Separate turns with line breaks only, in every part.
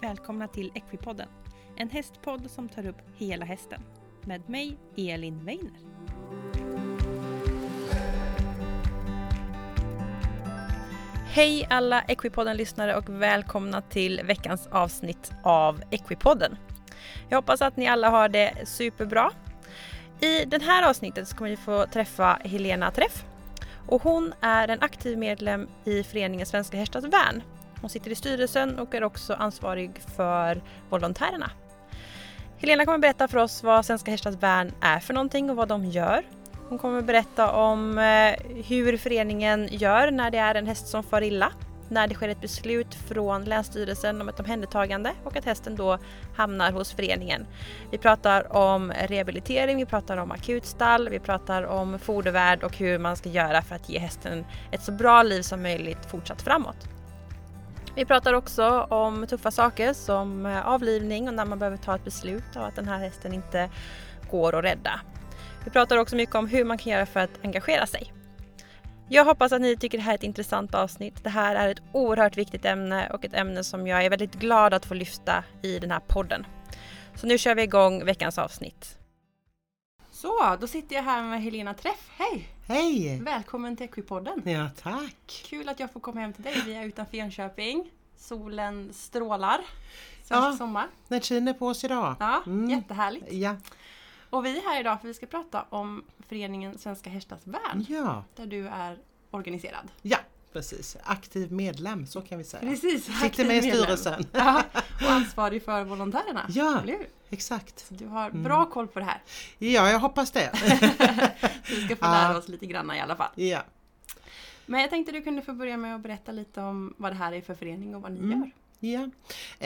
välkomna till Equipodden. En hästpodd som tar upp hela hästen. Med mig, Elin Weiner. Hej alla Equipodden-lyssnare och välkomna till veckans avsnitt av Equipodden. Jag hoppas att ni alla har det superbra. I det här avsnittet så kommer vi få träffa Helena Träff och hon är en aktiv medlem i föreningen Svenska Hästars Värn. Hon sitter i styrelsen och är också ansvarig för volontärerna. Helena kommer berätta för oss vad Svenska Hästars Värn är för någonting och vad de gör. Hon kommer berätta om eh, hur föreningen gör när det är en häst som far illa, när det sker ett beslut från Länsstyrelsen om ett omhändertagande och att hästen då hamnar hos föreningen. Vi pratar om rehabilitering, vi pratar om akutstall, vi pratar om fodervärd och hur man ska göra för att ge hästen ett så bra liv som möjligt fortsatt framåt. Vi pratar också om tuffa saker som eh, avlivning och när man behöver ta ett beslut och att den här hästen inte går att rädda. Vi pratar också mycket om hur man kan göra för att engagera sig. Jag hoppas att ni tycker det här är ett intressant avsnitt. Det här är ett oerhört viktigt ämne och ett ämne som jag är väldigt glad att få lyfta i den här podden. Så nu kör vi igång veckans avsnitt. Så, då sitter jag här med Helena Träff. Hej!
Hej!
Välkommen till Equipodden.
Ja, tack!
Kul att jag får komma hem till dig. Vi är utanför Jönköping. Solen strålar. Svensk
Ja.
sommar.
Den skiner på oss idag.
Ja,
Mm.
jättehärligt.
Ja.
Och vi är här idag för vi ska prata om föreningen Svenska Hästars Värn.
ja,
Där du är organiserad.
ja, precis. Aktiv medlem, så kan vi säga.
Precis!
Sitter
aktiv
med i
medlem.
styrelsen.
Ja, och ansvarig för volontärerna.
Ja. Mm.
Eller hur?
Exakt.
Så du har bra koll på det här.
Ja, jag hoppas det.
Vi ska få
Ja.
lära oss lite grann i alla fall.
ja.
Men jag tänkte du kunde få börja med att berätta lite om vad det här är för förening och vad ni
Mm.
gör.
Ja.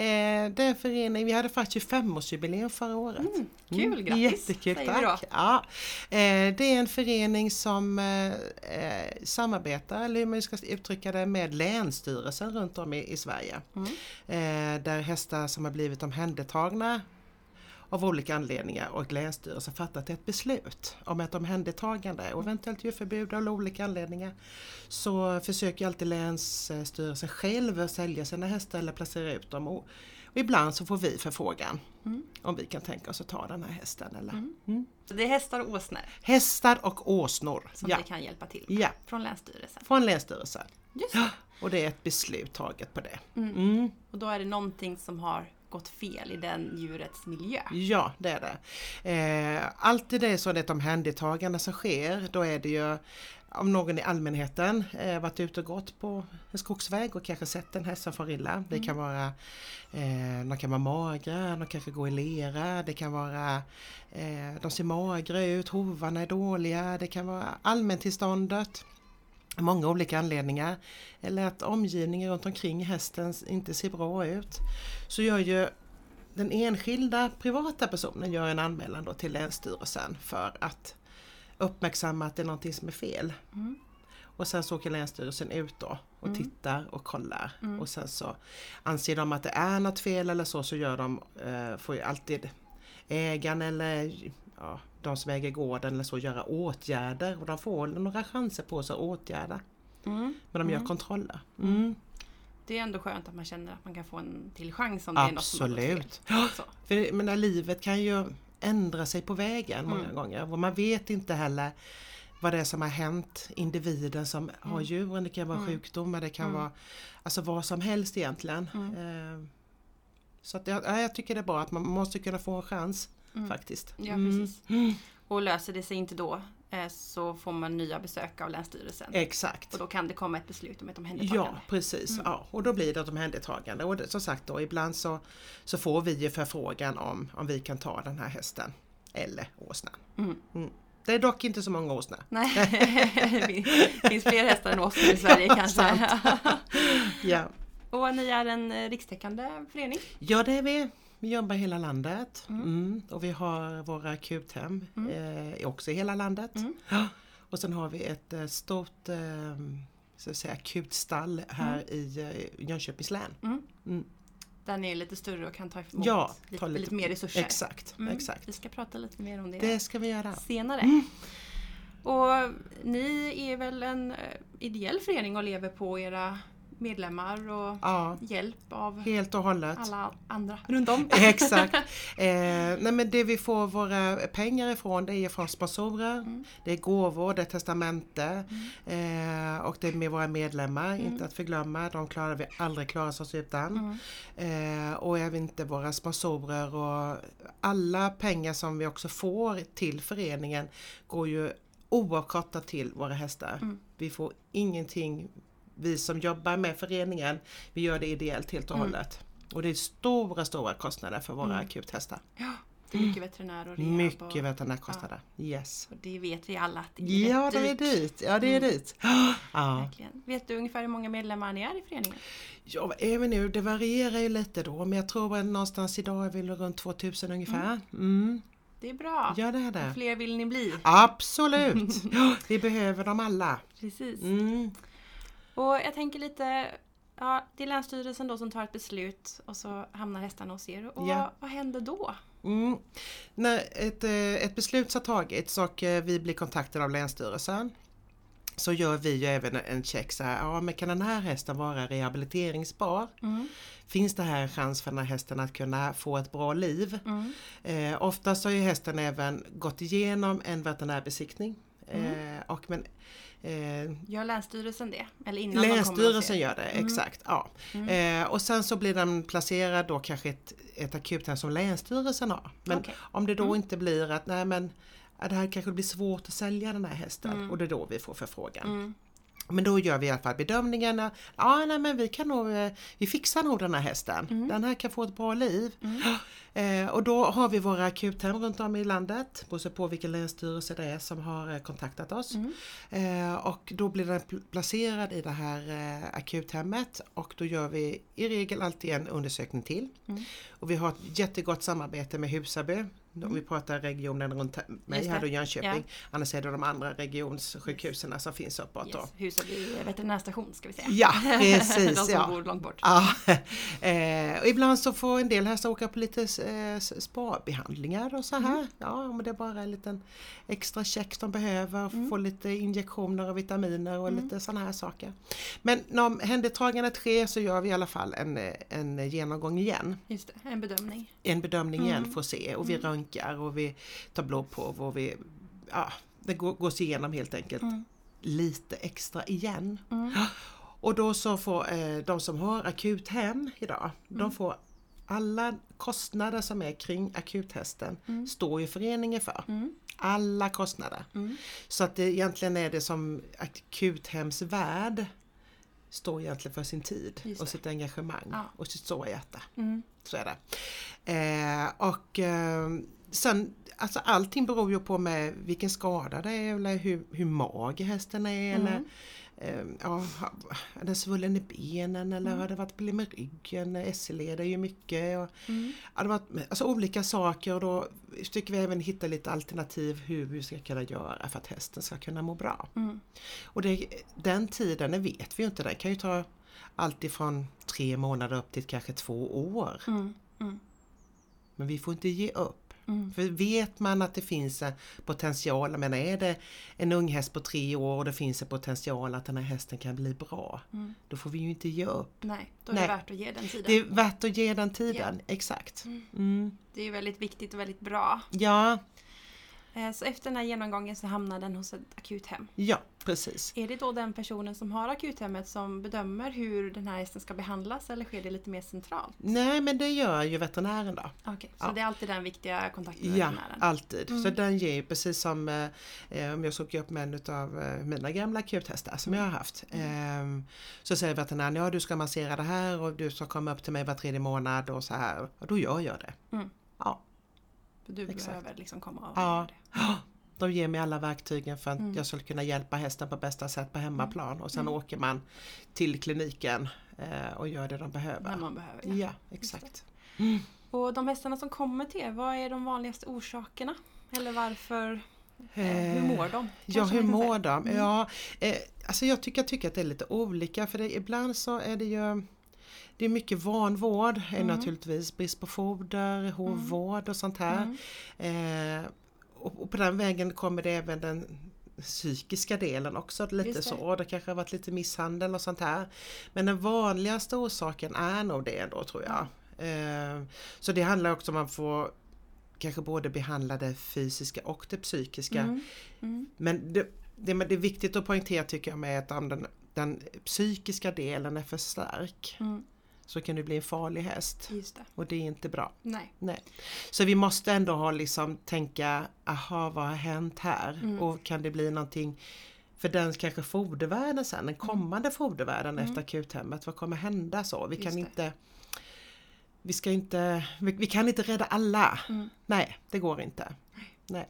Eh, det är en förening, vi hade faktiskt 25-årsjubileum förra året.
Mm, kul, grattis,
Jättekul,
säger vi då.
tack! Ja. Eh, det är en förening som eh, eh, samarbetar, eller hur man ska uttrycka det, med Länsstyrelsen runt om i, i Sverige.
Mm.
Eh, där hästar som har blivit omhändertagna av olika anledningar och Länsstyrelsen fattat ett beslut om ett omhändertagande och eventuellt djurförbud av olika anledningar så försöker alltid Länsstyrelsen själv att sälja sina hästar eller placera ut dem. Och, och ibland så får vi förfrågan
Mm.
om vi kan tänka oss att ta den här hästen. Eller. Mm.
Så det är hästar och åsnor
Hästar och åsnor.
som
Ja.
vi kan hjälpa till med.
ja,
Från Länsstyrelsen.
från Länsstyrelsen.
Just det. Mm.
Och det är ett beslut taget på det. Mm.
Och då är det någonting som har gått fel i den djurets miljö.
Ja, det är det. Eh, alltid det så det är ett omhändertagande som sker, då är det ju om någon i allmänheten eh, varit ute och gått på en skogsväg och kanske sett en häst som far illa. Det kan vara, eh, de kan vara magra, de kanske går i lera, det kan vara, eh, de ser magra ut, hovarna är dåliga, det kan vara allmäntillståndet. Många olika anledningar. Eller att omgivningen runt omkring hästen inte ser bra ut. Så gör ju den enskilda privata personen gör en anmälan då till Länsstyrelsen för att uppmärksamma att det är någonting som är fel.
Mm.
Och sen så åker Länsstyrelsen ut då och tittar och kollar
Mm.
och sen så anser de att det är något fel eller så så gör de, eh, får ju alltid ägaren eller ja, de som äger gården eller så göra åtgärder och de får några chanser på sig att åtgärda. Men
Mm.
de gör kontroller. Mm.
Det är ändå skönt att man känner att man kan få en till chans om det är något som har gått
Absolut.
fel. Så.
För jag menar, livet kan ju ändra sig på vägen många
Mm.
gånger och man vet inte heller vad det är som har hänt individen som
Mm.
har djuren. Det kan vara sjukdomar, det kan vara alltså vad som helst egentligen.
Mm.
Eh, Så att jag, ja, jag tycker det är bra att man måste kunna få en chans faktiskt.
Mm.
Mm.
Ja, precis. Och löser det sig inte då eh, så får man nya besök av Länsstyrelsen.
Exakt.
Och då kan det komma ett beslut om ett omhändertagande.
Ja precis,
Mm.
ja. och då blir det ett omhändertagande och det, som sagt då ibland så, så får vi ju förfrågan om, om vi kan ta den här hästen eller åsnan. Mm. Det är dock inte så många åsnor.
Nej, det finns fler hästar än åsnor i Sverige kanske.
Ja.
och ni är en eh, rikstäckande förening.
ja, det är vi. Vi jobbar i hela landet mm. och vi har våra akuthem
Mm.
eh, också i hela landet. Ja. Och sen har vi ett eh, stort eh, så att säga, akutstall här
Mm.
i eh, Jönköpings län.
Där ni är lite större och kan ta emot
Ja,
lite,
ta
lite,
lite-
mer resurser.
Exakt,
Mm,
exakt.
Vi ska prata lite mer om det,
Det ska vi göra.
senare.
Mm.
Och ni är väl en eh, ideell förening och lever på era medlemmar och
Ja,
hjälp av
helt och hållet.
alla andra runt om.
Exakt. Eh, nej men det vi får våra pengar ifrån det är från sponsorer, det är gåvor, det är testamente eh, och det är med våra medlemmar, inte att förglömma. De klarar vi aldrig klara oss utan. Eh, och även inte våra sponsorer och alla pengar som vi också får till föreningen går ju oavkortat till våra hästar. Vi får ingenting vi som jobbar med föreningen, vi gör det ideellt helt och hållet. Och det är stora, stora kostnader för våra akuthästar.
Ja, det är mycket veterinär och rehab. och,
Mycket veterinärkostnader. Yes.
och det vet vi alla att det är
Ja,
rätt
det är
dyrt.
dit. Ja, det är dit. Ja.
Verkligen. Vet du ungefär hur många medlemmar ni är i föreningen?
Ja, vad är vi nu? Det varierar ju lite då, men jag tror att någonstans idag är vi runt 2000 ungefär. Mm.
Det är bra.
Ja, det är det.
Fler vill ni bli.
Absolut! Ja, vi behöver dem alla.
Precis.
Mm.
Och jag tänker lite, ja, det är Länsstyrelsen då som tar ett beslut och så hamnar hästarna hos er. Och
Ja.
vad, vad händer då?
Mm. När ett, eh, ett beslut har tagits och eh, vi blir kontaktade av Länsstyrelsen så gör vi ju även en check så här, ja men kan den här hästen vara rehabiliteringsbar? Finns det här en chans för den här hästen att kunna få ett bra liv?
Mm.
Eh, oftast har ju hästen även gått igenom en veterinärbesiktning.
Mm.
Eh, och men, eh,
Gör Länsstyrelsen det? Eller innan de Mm. kommer hos
Länsstyrelsen
er?
gör det, exakt. Ja. Eh, och sen så blir den placerad då kanske ett, ett akuthem som Länsstyrelsen har. Men
Okej.
om det då inte blir att, nej men ja, det här kanske blir svårt att sälja den här hästen och det är då vi får förfrågan.
Mm.
Men då gör vi i alla fall bedömningen att ja, nej, men vi, kan nog, eh, vi fixar nog den här hästen.
Mm.
Den här kan få ett bra liv. Eh, och då har vi våra akuthem runt om i landet, beroende på vilken länsstyrelse det är som har eh, kontaktat oss.
Mm.
Eh, och då blir den pl- placerad i det här eh, akuthemmet och då gör vi i regel alltid en undersökning till.
Mm.
Och vi har ett jättegott samarbete med Husaby. Om vi pratar regionen runt he- mig
Mm. Just det.
här då Jönköping.
Ja.
Annars är det de andra regionssjukhusen som finns uppåt då.
Yes. Husaby veterinärstation ska vi säga.
Ja,
De
precis.
som
ja.
bor långt bort.
Ja, eh, och ibland så får en del hästar åka på lite eh, s- spabehandlingar och så här.
Mm.
Ja, men det är bara en liten extra check de behöver,
Mm.
få lite injektioner och vitaminer och lite sådana här saker. Men när omhändertagandet sker så gör vi i alla fall en, eh, en genomgång igen,
Just det, en bedömning.
en bedömning
Mm.
igen för att se och vi röntgar och vi tar blodprov och vi, ja, det går, gås igenom helt enkelt
Mm.
lite extra igen. Och då så får eh, de som har akuthem idag,
Mm.
de får alla kostnader som är kring akuthästen
Mm.
står ju föreningen för. Alla kostnader.
Mm.
Så att det egentligen är det som akuthemsvärd står egentligen för sin tid
Just
och
det.
sitt engagemang
Ja.
och sitt stora hjärta.
Mm.
Så är det. Eh, och eh, sen, alltså allting beror ju på med vilken skada det är eller hur, hur mager hästen är eller eh, ja, har- är den svullen i benen eller har det varit problem med ryggen, SL-led är ju mycket. Och,
mm,
ja, det har varit, alltså olika saker och då försöker vi även hitta lite alternativ hur vi ska kunna göra för att hästen ska kunna må bra.
mm,
Och det, den tiden, det vet vi ju inte, den kan ju ta allt ifrån tre månader upp till kanske två år.
mm,
Men vi får inte ge upp.
mm.
För vet man att det finns en potential, men är det en ung häst på tre år och det finns en potential att den här hästen kan bli bra, då får vi ju inte ge upp.
Nej, då är
Nej.
det värt att ge den tiden.
Det
Det...
är värt att ge den tiden, exakt. Mm.
är ju väldigt viktigt och väldigt bra.
Ja,
Eh, Så efter den här genomgången så hamnar den hos ett akuthem.
ja precis.
Är det då den personen som har akuthemmet som bedömer hur den här hästen ska behandlas eller sker det lite mer centralt?
Nej men det gör ju veterinären då.
Okej, så det är alltid den viktiga kontakten med
Ja,
veterinären?
alltid.
Mm.
Så den ger ju precis som eh, eh, om jag såg upp med en av eh, mina gamla akuthästar som jag har haft.
Mm.
Ehm, så säger veterinären, ja du ska massera det här och du ska komma upp till mig var tredje månad och så här. Och då gör jag det.
Mm.
Ja,
För du
exakt.
behöver liksom komma av
Ja.
med det.
de ger mig alla verktygen för att
Mm.
jag skulle kunna hjälpa hästen på bästa sätt på hemmaplan och sen åker man till kliniken eh, och gör det de behöver.
när man behöver.
Ja,
Ja.
exakt.
Och de hästarna som kommer till er, vad är de vanligaste orsakerna? Eller varför? Eh, hur mår de?
Ja,
kanske
hur
man kan säga. Mm.
mår de? Ja, eh, alltså jag tycker, jag tycker att det är lite olika för det, ibland så är det ju det är mycket vanvård,
Mm.
är naturligtvis brist på foder,
Mm,
hovvård och sånt här. Eh, och, och på den vägen kommer det även den psykiska delen också lite
Just det.
så. Och det kanske har varit lite misshandel och sånt här. Men den vanligaste orsaken är nog det då tror jag. Eh, Så det handlar också om att få kanske både behandla det fysiska och det psykiska.
Mm. Mm.
Men det, det, men det är viktigt att poängtera tycker jag med att om den, den psykiska delen är för stark
Mm.
så kan du bli en farlig häst.
Just det.
Och det är inte bra.
Nej.
Nej. Så vi måste ändå ha liksom tänka, aha vad har hänt här?
Mm.
Och kan det bli någonting för den kanske fodervärden sen,
Mm.
den kommande fodervärden efter akuthemmet, vad kommer hända så? Vi
Just
kan
det.
inte vi, ska inte vi, vi kan inte rädda alla.
Mm.
Nej, det går inte. Nej.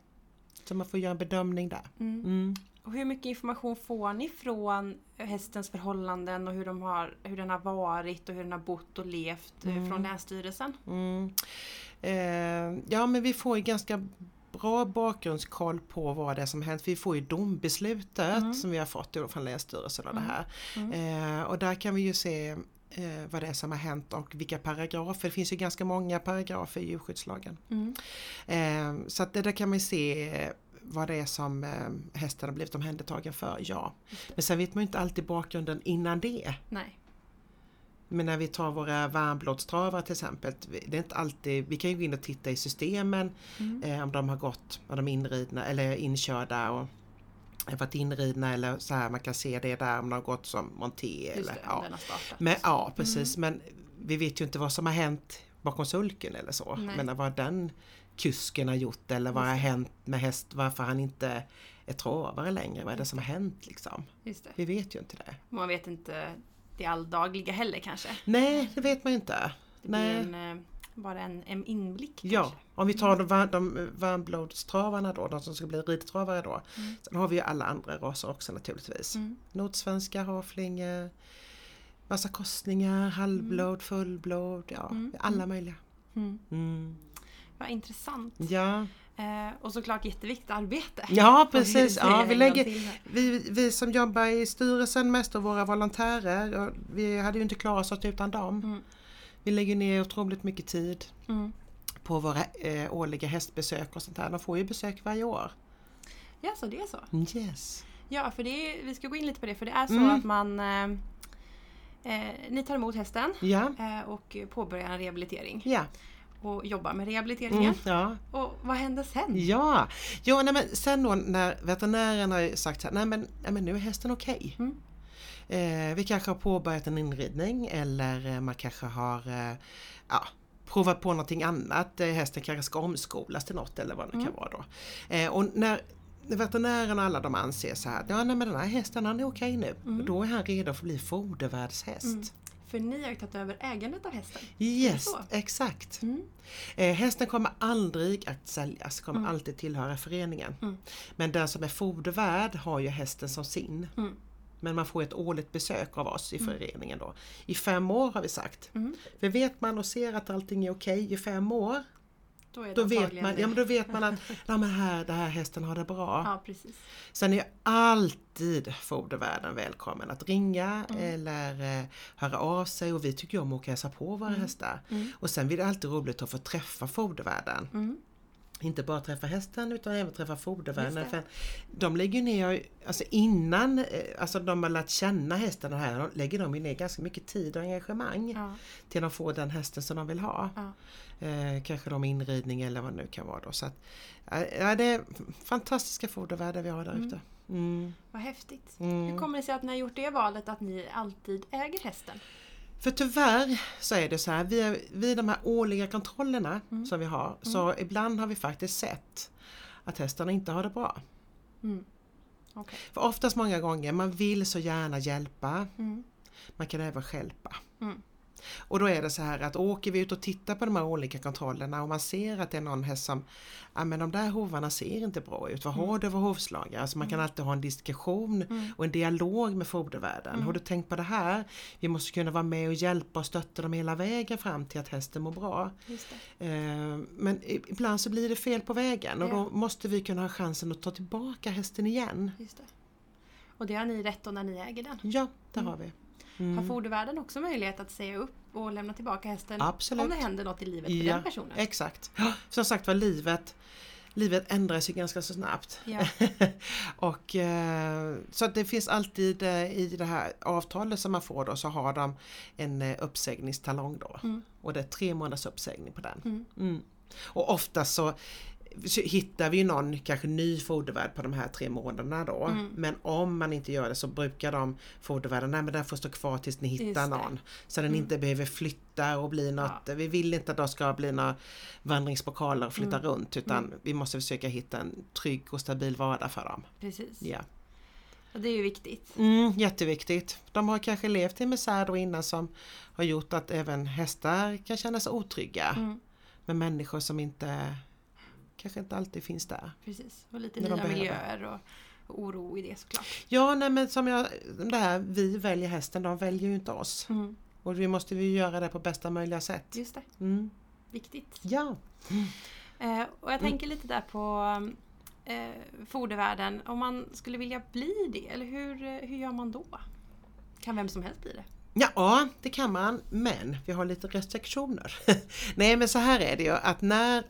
Så man får göra en bedömning där.
Mm.
Mm.
Och hur mycket information får ni från hästens förhållanden och hur, de har, hur den har varit och hur den har bott och levt eh, från Länsstyrelsen?
Mm. Eh, ja men vi får ju ganska bra bakgrundskoll på vad det är som hänt. Vi får ju dombeslutet som vi har fått då från Länsstyrelsen och det här. Eh, och där kan vi ju se eh, vad det är som har hänt och vilka paragrafer. Det finns ju ganska många paragrafer i djurskyddslagen.
Mm.
Eh, så att det där kan man ju se eh, vad det är som eh, hästen har blivit omhändertagen för, ja. Men sen vet man ju inte alltid bakgrunden innan det.
Nej.
Men när vi tar våra varmblodstravare till exempel, vi- det är inte alltid, vi kan ju gå in och titta i systemen
Mm.
eh, om de har gått, om de är inridna eller inkörda och har varit inridna eller så här, man kan se det där om de har gått som monté.
Just
Eller,
det,
ja.
den har startat.
Men, ja precis
Mm.
men vi vet ju inte vad som har hänt bakom sulken eller så.
Nej.
Men vad den kusken har gjort eller vad
Just
har
det.
hänt med häst, varför han inte är travare längre, vad är det som har hänt liksom?
Just det.
Vi vet ju inte det.
Man vet inte det alldagliga heller kanske.
Nej, det vet man ju inte.
Det
Nej.
blir en, eh, bara en, en inblick
Ja,
kanske.
om vi tar de, var- de varmblodstravarna då, de som ska bli ridtravare då.
Mm.
Sen har vi ju alla andra raser också naturligtvis.
Mm.
Nordsvenska, havflinge, massa korsningar, halvblod, fullblod, ja
Mm,
alla möjliga.
Mm.
Mm.
Vad intressant.
Ja.
Eh, och såklart jätteviktigt arbete.
ja,
Får vi
precis.
säga
Ja,
en
vi,
gång
lägger,
till här.
vi, vi som jobbar i styrelsen mest och våra volontärer, och vi hade ju inte klarat oss utan dem.
Mm.
Vi lägger ner otroligt mycket tid
Mm.
på våra eh, årliga hästbesök och sånt här. De får ju besök varje år.
Ja, så det är så.
Yes.
Ja, för det är, vi ska gå in lite på det för det är så
Mm.
att man... Eh, eh, ni tar emot hästen
Ja.
eh, och påbörjar en rehabilitering
Ja.
och jobbar med rehabiliteringen.
Mm, ja.
Och vad händer sen?
Ja, jo, nej, men sen då när veterinären har ju sagt så här, nej men, nej, men nu är hästen okej.
Mm.
Eh, vi kanske har påbörjat en inridning eller eh, man kanske har eh, ja, provat på någonting annat. Eh, hästen kanske ska omskolas till något eller vad det
Mm.
kan vara då. Eh, och när veterinären och alla de anser så här, ja nej men den här hästen han är okej nu.
Mm.
Då är han redo för att bli fodervärdshäst.
För ni har ju tagit över ägandet av hästen.
Yes,
så?
exakt.
Mm.
Eh, hästen kommer aldrig att säljas, kommer
Mm.
alltid tillhöra föreningen. Men den som är fodervärd har ju hästen som sin.
Mm.
Men man får ett årligt besök av oss i föreningen då. I fem år har vi sagt. För vet man och ser att allting är okej i fem år,
Då, är Mm. det
då vet,
antagligen
man,
ni.
ja, men då vet man att ja, men här, den här hästen har det bra.
Ja, precis.
Sen är ju alltid fodervärden välkommen att ringa
Mm.
eller eh, höra av sig och vi tycker ju om att åka och hälsa på våra
Mm.
hästar. Och sen blir det alltid roligt att få träffa fodervärden.
Mm.
Inte bara träffa hästen utan även träffa fodervärden.
Just
För de lägger ju ner, alltså innan eh, alltså de har lärt känna hästen och det här, de lägger de ju ner ganska mycket tid och engagemang
Ja,
till de får den hästen som de vill ha.
ja.
Eh, kanske de inridning eller vad det nu kan vara då. Så att, eh, ja, det är fantastiska fodervärden vi har där ute. Mm.
Vad häftigt.
Mm.
Hur kommer det sig att ni har gjort det valet att ni alltid äger hästen?
För tyvärr så är det så här, vi, vi de här årliga kontrollerna
Mm.
som vi har, så ibland har vi faktiskt sett att hästarna inte har det bra.
Mm. Okej.
För oftast många gånger, man vill så gärna hjälpa,
Mm.
man kan även stjälpa.
Mm.
Och då är det så här att åker vi ut och tittar på de här olika kontrollerna och man ser att det är någon häst som, ja men de där hovarna ser inte bra ut, vad
Mm.
har du för hovslagare? Alltså man kan alltid ha en diskussion och en dialog med fodervärden.
Mm.
Har du tänkt på det här? Vi måste kunna vara med och hjälpa och stötta dem hela vägen fram till att hästen mår bra.
Just det.
Eh, Men i- ibland så blir det fel på vägen och
Ja.
då måste vi kunna ha chansen att ta tillbaka hästen igen.
Just det. Och det har ni rätt om när ni äger den.
Ja, det har vi. Mm.
Har fodervärden också möjlighet att säga upp och lämna tillbaka hästen
Absolut.
om det händer något i livet för den personen?
Exakt. Som sagt var, livet livet ändras ju ganska så snabbt.
Ja.
och, eh, så att det finns alltid eh, i det här avtalet som man får då så har de en eh, uppsägningstalong då.
Mm.
Och det är tre månaders uppsägning på den.
Mm.
Mm. Och ofta så så hittar vi ju någon kanske ny fodervärd på de här tre månaderna då.
Mm.
Men om man inte gör det så brukar de fodervärden, nej men den får stå kvar tills ni hittar
Just det.
någon. Så den
Mm.
inte behöver flytta och bli något, vi vill inte att de ska bli några vandringspokaler och flytta runt utan vi måste försöka hitta en trygg och stabil vardag för dem.
Precis.
Ja.
Och det är ju viktigt.
Mm, jätteviktigt. De har kanske levt i en misär då innan som har gjort att även hästar kan känna sig otrygga
Mm.
med människor som inte kanske inte alltid finns där.
Precis. Och lite
När de
nya
behöver.
miljöer och, och oro i det såklart.
Ja, nej men som jag, det här, vi väljer hästen, de väljer ju inte oss.
Mm.
Och vi måste ju göra det på bästa möjliga sätt.
Just det,
Mm.
viktigt.
Ja. Mm.
Eh, och jag tänker lite där på eh, fodervärden, om man skulle vilja bli det, eller hur, eh, hur gör man då? Kan vem som helst bli det?
Ja, det kan man, men vi har lite restriktioner. Nej, men så här är det ju att när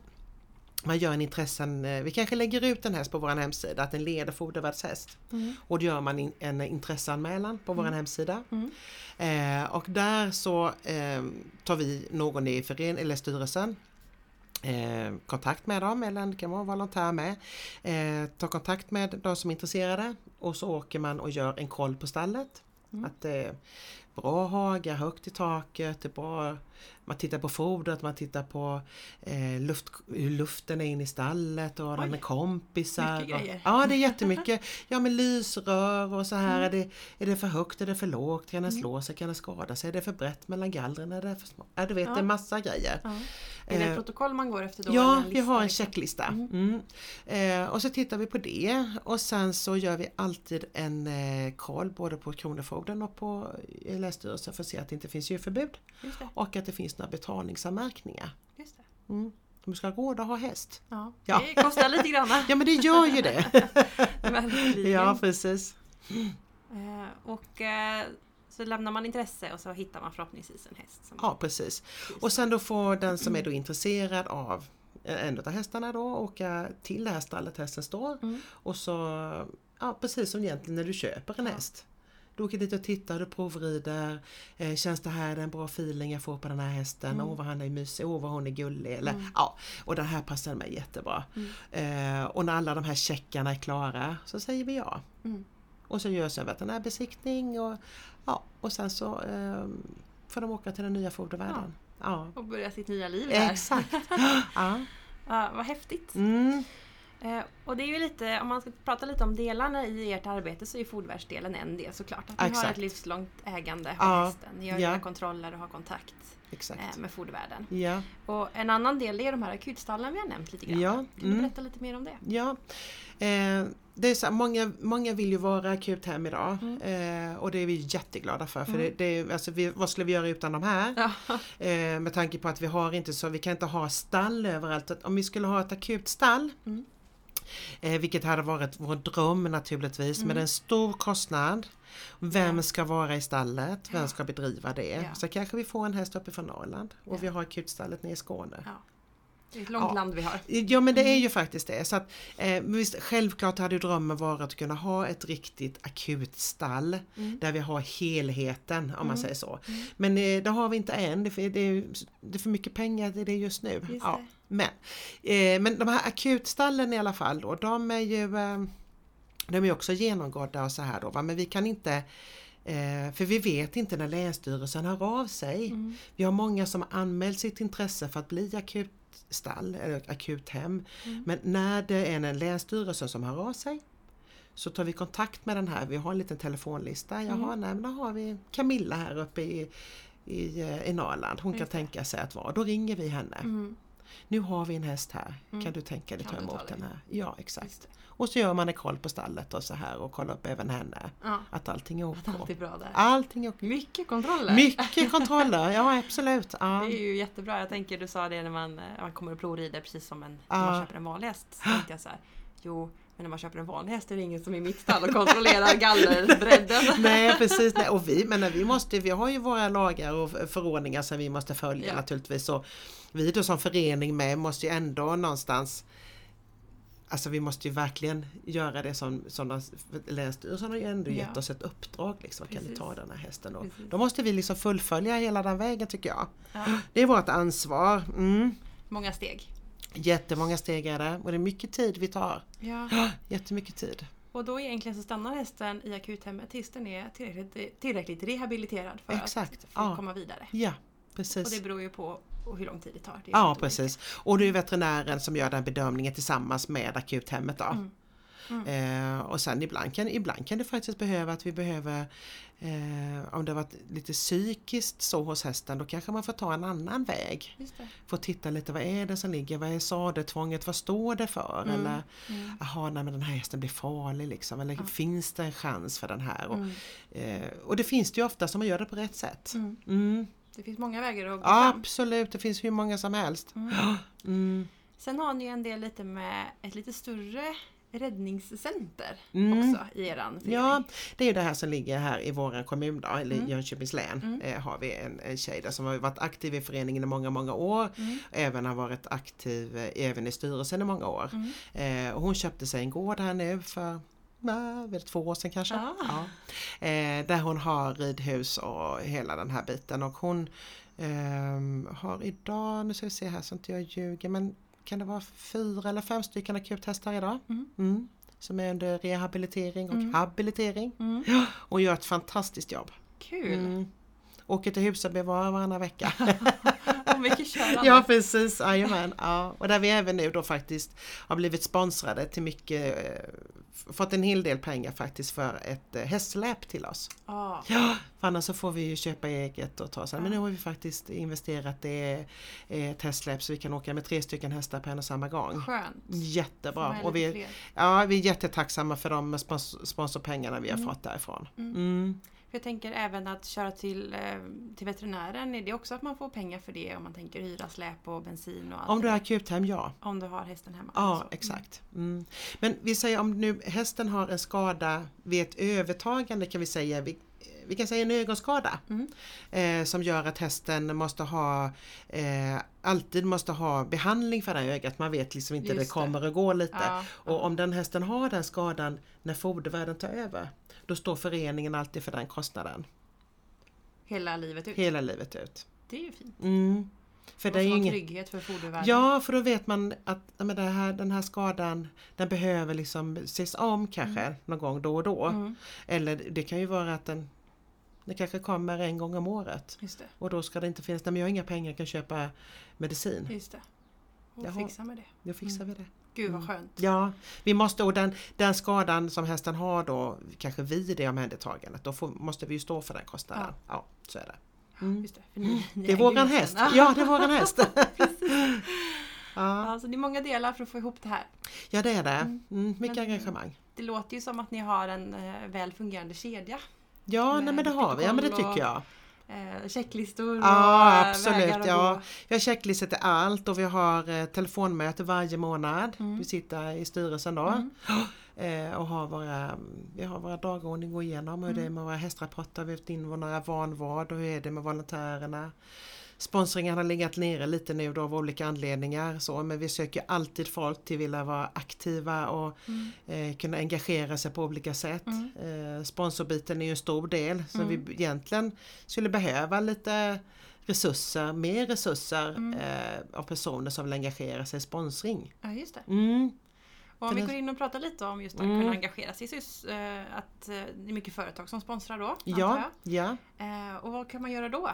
man gör en intressen, eh, vi kanske lägger ut en häst på vår hemsida, att den leder fodervärdshäst. Och då gör man in, en intresseanmälan på vår hemsida.
Mm.
Eh, och där så eh, tar vi någon i föreningen eller styrelsen eh, kontakt med dem eller det kan vara en volontär med. Eh, ta kontakt med de som är intresserade och så åker man och gör en koll på stallet.
Mm.
Att det är bra hagar, högt i taket, det är bra, man tittar på fodret, man tittar på eh, luft, hur luften är inne i stallet och har de
Oj.
med kompisar.
Mycket
och,
grejer.
ja det är jättemycket. Ja men lysrör och så här,
Mm.
är, det, är det för högt, är det för lågt, kan den slå sig, kan den skada sig, är det för brett mellan gallren, är det för små? Ja du vet
Ja.
det är massa grejer.
Är det
Eh,
ett protokoll man går efter då? eller
Ja,
en
vi har en
lista, liksom.
checklista. Mm. Eh, och så tittar vi på det och sen så gör vi alltid en eh, koll både på Kronofogden och på eh, Länsstyrelsen för att se att det inte finns djurförbud
liksom? Just det,
och att det finns några betalningsanmärkningar.
just det.
Mm. De ska ha råd att ha häst.
Ja.
Ja.
Det kostar lite grann.
Ja men det gör ju det!
verkligen.
ja precis.
Eh, och eh, så lämnar man intresse och så hittar man förhoppningsvis en häst. Som
Ja precis. Och sen då får den som är då intresserad av eh, en av hästarna då åka till det här stallet hästen står
Mm.
och så, ja precis som egentligen när du köper en
Ja.
häst. Du åker dit och tittar, du provrider, eh, känns det här en bra feeling jag får på den här hästen,
Mm.
åh vad han är mysig, åh vad hon är gullig eller ja, och den här passar mig jättebra. Eh, och när alla de här checkarna är klara så säger vi ja.
Mm.
Och så görs en veterinärbesiktning och, ja, och sen så eh, får de åka till den nya fodervärden. Ja.
Och börjar sitt nya liv där.
Exakt! ja.
Ja, vad häftigt!
Mm.
Eh, och det är ju lite, om man ska prata lite om delarna i ert arbete så är fodervärdsdelen en del såklart. Att ni har
Exakt.
ett livslångt ägande av
Ja,
hästen. Ni gör
ja.
era kontroller och har kontakt
Exakt.
eh, med fodervärden.
Ja.
Och en annan del är de här akutstallen vi har nämnt lite grann.
Ja,
Kan du
mm.
berätta lite mer om det?
Ja. Eh, det är så här, många, många vill ju vara akut hem idag
Mm.
eh, och det är vi jätteglada för. för det, det, är- alltså, vi, vad skulle vi göra utan de här?
Ja.
Eh, med tanke på att vi har inte så, vi kan inte ha stall överallt. Att Om vi skulle ha ett akut stall
Mm.
Eh, vilket hade varit vår dröm naturligtvis, men det
Mm.
är en stor kostnad. Vem ska vara i stallet? Vem ska bedriva det?
Ja.
Så kanske vi får en häst uppifrån Norrland och vi har akutstallet nere i Skåne.
Ja. Det är ett långt
Ja.
land vi har.
Ja men det är ju faktiskt det. Så att, eh, men visst, självklart hade ju drömmen varit att kunna ha ett riktigt akut stall
Mm.
där vi har helheten om man säger så. Men eh, det har vi inte än, det är, för- det är, det är för mycket pengar till det just nu.
Just
ja.
det.
men, eh, men de här akutstallen i alla fall då, de är ju eh, de är också genomgådda och så här då, va? men vi kan inte eh, för vi vet inte när Länsstyrelsen hör av sig.
Mm.
Vi har många som har anmält sitt intresse för att bli akutstall eller akuthem.
Mm.
Men när det är en länsstyrelse som hör av sig så tar vi kontakt med den här, vi har en liten telefonlista. Jaha,
Mm.
nej men då har vi Camilla här uppe i, i, eh, i Norrland, hon kan
Just det.
tänka sig att vara. Då ringer vi henne.
Mm.
Nu har vi en häst här, kan du tänka dig
Kan
ta
du ta
emot
dig?
den här? Ja, exakt.
Just det.
Och så gör man en koll på stallet och så här och kollar upp även henne.
Ja.
Att allting är OK.
Att allt är bra där.
Allting är OK.
Mycket kontroller!
Mycket kontroller, ja absolut. Ja.
Det är ju jättebra. Jag tänker du sa det när man, eh, man kommer och provrider precis som en, när
Ja.
man köper en vanlig häst. Så tänkte jag så här, jo men när man köper en vanlig häst är det ingen som är i mitt stall och kontrollerar gallerbredden.
Nej precis, nej. och vi, men vi, måste, vi har ju våra lagar och förordningar som vi måste följa
Ja.
naturligtvis. Och vi då som förening med måste ju ändå någonstans Alltså vi måste ju verkligen göra det som, som de, Länsstyrelsen har ju ändå gett
Ja.
oss ett uppdrag. Liksom, kan ni
Precis.
ta den här hästen då?
Precis.
Då måste vi liksom fullfölja hela den vägen tycker jag.
Ja,
Det är vårt ansvar. Mm.
många steg.
Jättemånga steg är det och det är mycket tid vi tar.
Ja.
Jättemycket tid.
Och då egentligen så stannar hästen i akuthemmet tills den är tillräckligt, tillräckligt rehabiliterad för
Exakt,
att få
ja.
komma vidare.
Ja,
Och
precis.
det beror ju på hur lång tid det tar. Det är
Ja
helt
precis. Och det är veterinären som gör den bedömningen tillsammans med akuthemmet då.
Mm.
Eh, och sen ibland kan, ibland kan det faktiskt behöva att vi behöver eh, om det har varit lite psykiskt så hos hästen då kanske man får ta en annan väg.
olika. Just det.
Få titta lite vad är det som ligger, vad är sadetvånget, vad står det för?
Mm.
Eller
Mm.
jaha nej men den här hästen blir farlig liksom eller
Ja.
finns det en chans för den här? Och,
Mm.
eh, och det finns det ju ofta som man gör det på rätt sätt.
Mm.
Mm.
Det finns många vägar att gå fram.
Absolut, det finns hur många som helst.
Mm.
Mm.
Sen har ni ju en del lite med ett lite större räddningscenter
Mm.
också i eran förening.
Ja, det är ju det här som ligger här i vår kommun då, eller
Mm.
Jönköpings län.
Mm.
Eh, har vi en, en tjej där som har varit aktiv i föreningen i många, många år.
Mm.
Även har varit aktiv eh, även i styrelsen i många år.
Mm.
Eh, och hon köpte sig en gård här nu för nej, väl två år sedan kanske.
Ah.
Ja. Eh, där hon har ridhus och hela den här biten. Och hon ehm, har idag, nu ska vi se här så inte jag ljuger, men kan det vara fyra eller fem stycken akuthästar idag?
Mm.
Mm. Som är under rehabilitering och
Mm.
habilitering.
Mm.
Och gör ett fantastiskt jobb.
Kul!
Mm. Åker till Husaby var varannan vecka.
Och mycket körande.
Ja precis, jajamän. Ja. Och där vi även nu då faktiskt har blivit sponsrade till mycket, eh, f- fått en hel del pengar faktiskt för ett eh, hästsläp till oss.
Ja.
Ja, för annars så får vi ju köpa eget och ta sen. Men
Ja.
nu har vi faktiskt investerat i eh, ett hästsläp så vi kan åka med tre stycken hästar på en och samma gång.
Skönt! Får
Jättebra!
med
Och
lite
vi,
fler.
ja, vi är jättetacksamma för de spons- sponsorpengarna vi har
Mm.
fått därifrån.
Mm.
Mm.
För Jag tänker även att köra till, eh, till veterinären, är det också att man får pengar för det om man tänker hyra släp och bensin och allt
Om du
det
har
där?
akuthem, ja.
om du har hästen hemma?
Ja,
Så.
exakt. Mm. Men vi säger om nu hästen har en skada vid ett övertagande kan vi säga, vi, vi kan säga en ögonskada
Mm.
eh, som gör att hästen måste ha, eh, alltid måste ha behandling för det här ögat, man vet liksom inte,
Just
det
det.
kommer och går lite.
Ja,
Och om den hästen har den skadan när fodervärden tar över, då står föreningen alltid för den kostnaden
hela livet ut.
hela livet ut.
Det är ju fint.
Mm. För
Det
det är ju
är
inget
trygghet för fodervärden.
Ja, för då vet man att ja, men det här, den här skadan den behöver liksom ses om kanske någon gång då och då.
Mm,
Eller det kan ju vara att den, den kanske kommer en gång om året.
just det.
Och då ska det inte finnas, nej men jag har inga pengar, jag kan köpa medicin.
Just det. Och
Jaha. Mm.
fixa med det.
Då fixar vi det.
Gud vad skönt.
Ja, vi måste, och den, den skadan som hästen har då, kanske vid det omhändertagandet, då får, måste vi ju stå för den kostnaden. Ja, så är det. Mm.
Just det, för ni, ni
Det är
äger
våran
ju
häst!
hästen.
Ja, det är våran häst! ja.
Ja, så det är många delar för att få ihop det här.
ja, det är det. Mm, mycket
Men-
engagemang.
Det låter ju som att ni har en eh, väl fungerande kedja.
Ja,
med
nej, men det har vi. Ja, men det
protokoll
tycker
och-
jag.
Eh, checklistor och
Ja,
eh,
absolut.
vägar att
Ja.
gå.
Vi har checklistor till allt och vi har eh, telefonmöte varje månad.
Mm.
Vi sitter i styrelsen då
Mm.
eh, och har våra, vi har våra dagordning att gå igenom. Hur
Mm.
det är med våra hästrapporter, vi har haft in våra vanvård och hur är det med volontärerna. Sponsringen har legat nere lite nu då av olika anledningar så, men vi söker alltid folk till vilja vara aktiva och
Mm.
eh, kunna engagera sig på olika sätt.
Mm.
Eh, sponsorbiten är ju en stor del så
Mm.
vi egentligen skulle behöva lite resurser, mer resurser
Mm.
eh, av personer som vill engagera sig i sponsring.
Ja, just det.
Mm.
Och om
För
vi
det-
går in och pratar lite om just att
Mm.
kunna engagera sig, så just, eh, att eh, det är mycket företag som sponsrar då, antar
Ja, ja.
jag. Eh, och vad kan man göra då?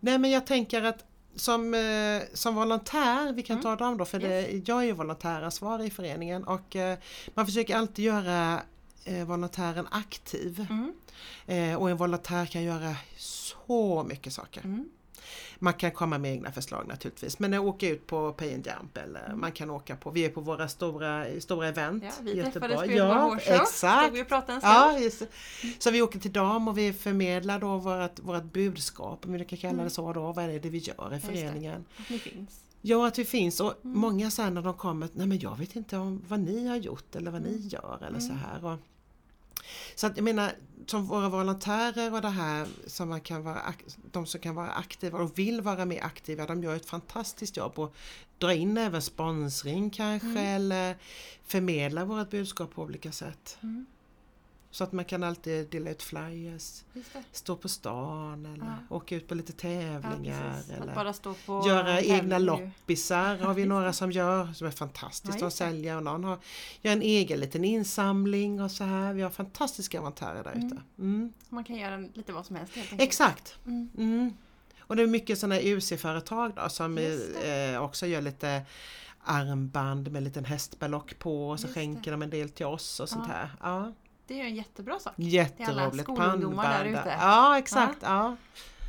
Nej men jag tänker att som, eh, som volontär, vi kan
Mm.
ta dem då för det, jag är ju volontäransvarig i föreningen och eh, man försöker alltid göra eh, volontären aktiv
Mm.
eh, och en volontär kan göra så mycket saker.
Mm.
Man kan komma med egna förslag naturligtvis men jag åker ut på Pay and Jump eller
Mm.
man kan åka på, vi är på våra stora, stora event
Ja, vi
i
träffades på
Göteborg.
Göteborg
Ja,
Horse Show.
exakt!
Stod vi och pratade en stund.
Ja, just det. Så vi åker till dam och vi förmedlar då vårt, vårt budskap, om vi kan kalla det
Mm.
så då, vad är det vi gör i
det.
föreningen.
Att ni finns.
Ja, att vi finns och
Mm.
många sen när de kommer, nej men jag vet inte om vad ni har gjort eller vad ni
Mm.
gör eller så
Mm.
här. Och Så att jag menar, som våra volontärer och det här som man kan vara, ak- de som kan vara aktiva och vill vara mer aktiva, de gör ett fantastiskt jobb och drar in även sponsring kanske
Mm.
eller förmedlar vårt budskap på olika sätt.
Mm.
Så att man kan alltid dela ut flyers,
Just det.
stå på stan eller
Ja.
åka ut på lite
Ja,
tävlingar.
precis. Att
eller
bara stå på
göra egna
tävling nu.
loppisar har vi några som gör som är fantastiskt.
Ja,
de
just det.
säljer och någon har, gör en egen liten insamling och så här. Vi har fantastiska volontärer där ute. Mm.
Man kan göra lite vad som helst helt enkelt.
Exakt!
Mm.
Mm. Och det är mycket sådana UC-företag då, som
Just
eh, också gör lite armband med en liten hästballock på och så
Just
skänker de en del till oss och sånt
Ja.
här. Ja.
Det är ju en jättebra sak.
Jätteroligt!
skolungdomar där
Pannband.
ute.
Ja exakt! Ja.